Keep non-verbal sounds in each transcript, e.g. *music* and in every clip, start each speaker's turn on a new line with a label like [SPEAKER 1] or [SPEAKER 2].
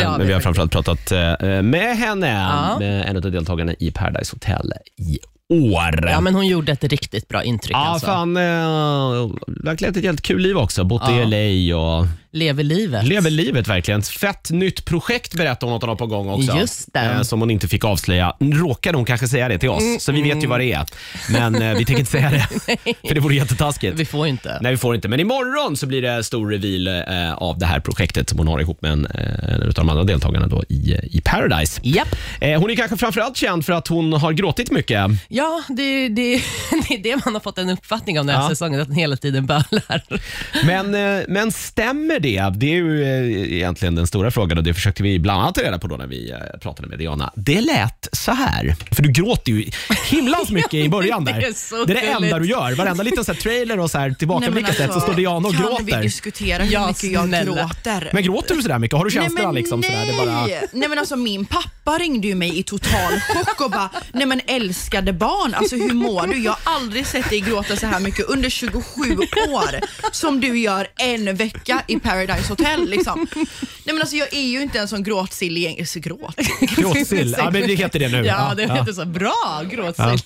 [SPEAKER 1] men vi har framförallt pratat eh, med henne,
[SPEAKER 2] Ja.
[SPEAKER 1] med en av deltagarna i Paradise Hotel i år.
[SPEAKER 2] Ja, men hon gjorde ett riktigt bra intryck.
[SPEAKER 1] Ja,
[SPEAKER 2] alltså.
[SPEAKER 1] fan. Eh, verkligen ett helt kul liv också. Bott
[SPEAKER 2] Ja.
[SPEAKER 1] i LA och
[SPEAKER 2] Lever livet.
[SPEAKER 1] lever livet verkligen. Fett nytt projekt berättade hon att hon har på gång också.
[SPEAKER 2] Just det.
[SPEAKER 1] Eh, som hon inte fick avslöja. Råkade hon kanske säga det till oss, så vi
[SPEAKER 2] Mm.
[SPEAKER 1] vet ju vad det är. Men eh, vi tänker inte säga
[SPEAKER 2] *laughs*
[SPEAKER 1] det, för det vore jättetaskigt.
[SPEAKER 2] Vi får ju inte.
[SPEAKER 1] Nej, vi får inte. Men imorgon så blir det stor reveal eh, av det här projektet som hon har ihop med en, eh, en av de andra deltagarna då i, i Paradise.
[SPEAKER 2] Japp.
[SPEAKER 1] Eh, hon är kanske framförallt känd för att hon har gråtit mycket.
[SPEAKER 2] Ja, det, det, *laughs* det är det man har fått en uppfattning om den här
[SPEAKER 1] Ja.
[SPEAKER 2] säsongen, att den hela tiden bölar.
[SPEAKER 1] Men, eh, men stämmer det? Det är ju eh, egentligen den stora frågan och det försökte vi bland annat reda på då när vi eh, pratade med Diana. Det lät så här. För du gråter ju himlans mycket i början där.
[SPEAKER 2] Det är så
[SPEAKER 1] det, är det
[SPEAKER 2] gulligt.
[SPEAKER 1] enda du gör. Varenda liten så här trailer och så här tillbakablick alltså, så står Diana och
[SPEAKER 3] kan
[SPEAKER 1] gråter.
[SPEAKER 3] vi diskutera hur
[SPEAKER 2] Ja,
[SPEAKER 3] mycket jag
[SPEAKER 2] snälla.
[SPEAKER 3] gråter?
[SPEAKER 1] Men gråter du så där mycket? Har du
[SPEAKER 3] Nej
[SPEAKER 1] känslorna
[SPEAKER 3] men,
[SPEAKER 1] liksom? Så där?
[SPEAKER 3] nej.
[SPEAKER 1] Det är bara...
[SPEAKER 3] nej men alltså min pappa ringde ju mig i total chock och bara, nej men älskade barn, alltså hur mår du? Jag har aldrig sett dig gråta så här mycket under 27 år som du gör en vecka i Paradise Hotel liksom. Nej men alltså jag är ju inte en sån gråtsill egentligen, så gråt.
[SPEAKER 1] Gråtsill. Ja, men det heter det nu.
[SPEAKER 2] Ja, det
[SPEAKER 1] Ja.
[SPEAKER 2] heter så. Bra gråtsill.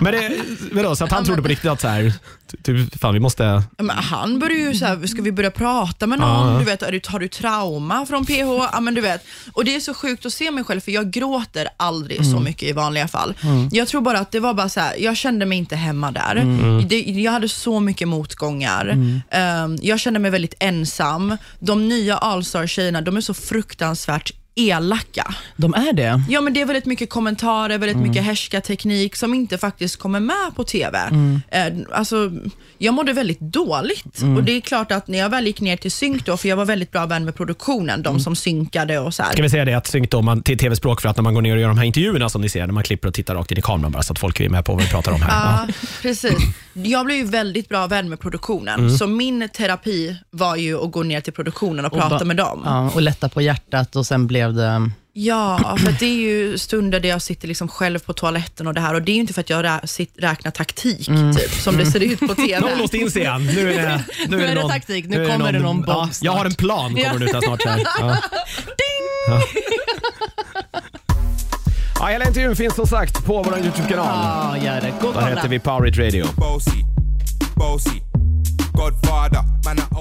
[SPEAKER 1] Men det, vadå, så att han trodde på riktigt att så här, ty- typ, fan vi måste...
[SPEAKER 3] Ja, Men han började ju såhär, ska vi börja prata med någon? Du vet, är du, har du trauma från PH? Ja, men du vet. Och det är så sjukt att se mig själv, för jag gråter aldrig så mycket i vanliga fall. Jag tror bara att det var bara så här, jag kände mig inte hemma där. Det, jag hade så mycket motgångar. Ehm, jag kände mig väldigt ensam. De nya Allstar-tjejerna, de är så fruktansvärt elaka.
[SPEAKER 2] De är det.
[SPEAKER 3] Ja men det är väldigt mycket kommentarer, väldigt mycket härskarteknik som inte faktiskt kommer med på TV. Eh, Alltså, jag mådde väldigt dåligt och det är klart att när jag väl gick ner till synk då, för jag var väldigt bra vän med produktionen, de som synkade och så här.
[SPEAKER 1] Ska vi säga det att synk då man, till tv-språk för att när man går ner och gör de här intervjuerna som ni ser, när man klipper och tittar rakt in i kameran bara så att folk är med på vad vi pratar om här.
[SPEAKER 3] Ja, precis. Jag blev ju väldigt bra vän med produktionen, så min terapi var ju att gå ner till produktionen och, prata
[SPEAKER 2] ba-
[SPEAKER 3] med dem.
[SPEAKER 2] Ja, och lätta på hjärtat och sen blev det...
[SPEAKER 3] Ja, för att det är ju stunder där jag sitter liksom själv på toaletten och det här och det är ju inte för att jag rä- sit- räknar taktik, typ, som det ser ut på TV.
[SPEAKER 1] Någon låst in sig igen. Nu är det,
[SPEAKER 2] Nu är det
[SPEAKER 1] någon-
[SPEAKER 2] taktik. Nu
[SPEAKER 1] är
[SPEAKER 2] kommer det någon bomb
[SPEAKER 1] ja, Jag har en plan kommer
[SPEAKER 2] Ja.
[SPEAKER 1] den ut här snart. Så här. Ja. Ja. Ja, hela intervjun finns som sagt på vår Youtube-kanal.
[SPEAKER 2] Ja, gör det. Gå och
[SPEAKER 1] Där
[SPEAKER 2] kolla.
[SPEAKER 1] heter vi Power It Radio.
[SPEAKER 4] Bossy, bossy, Godfather, man. I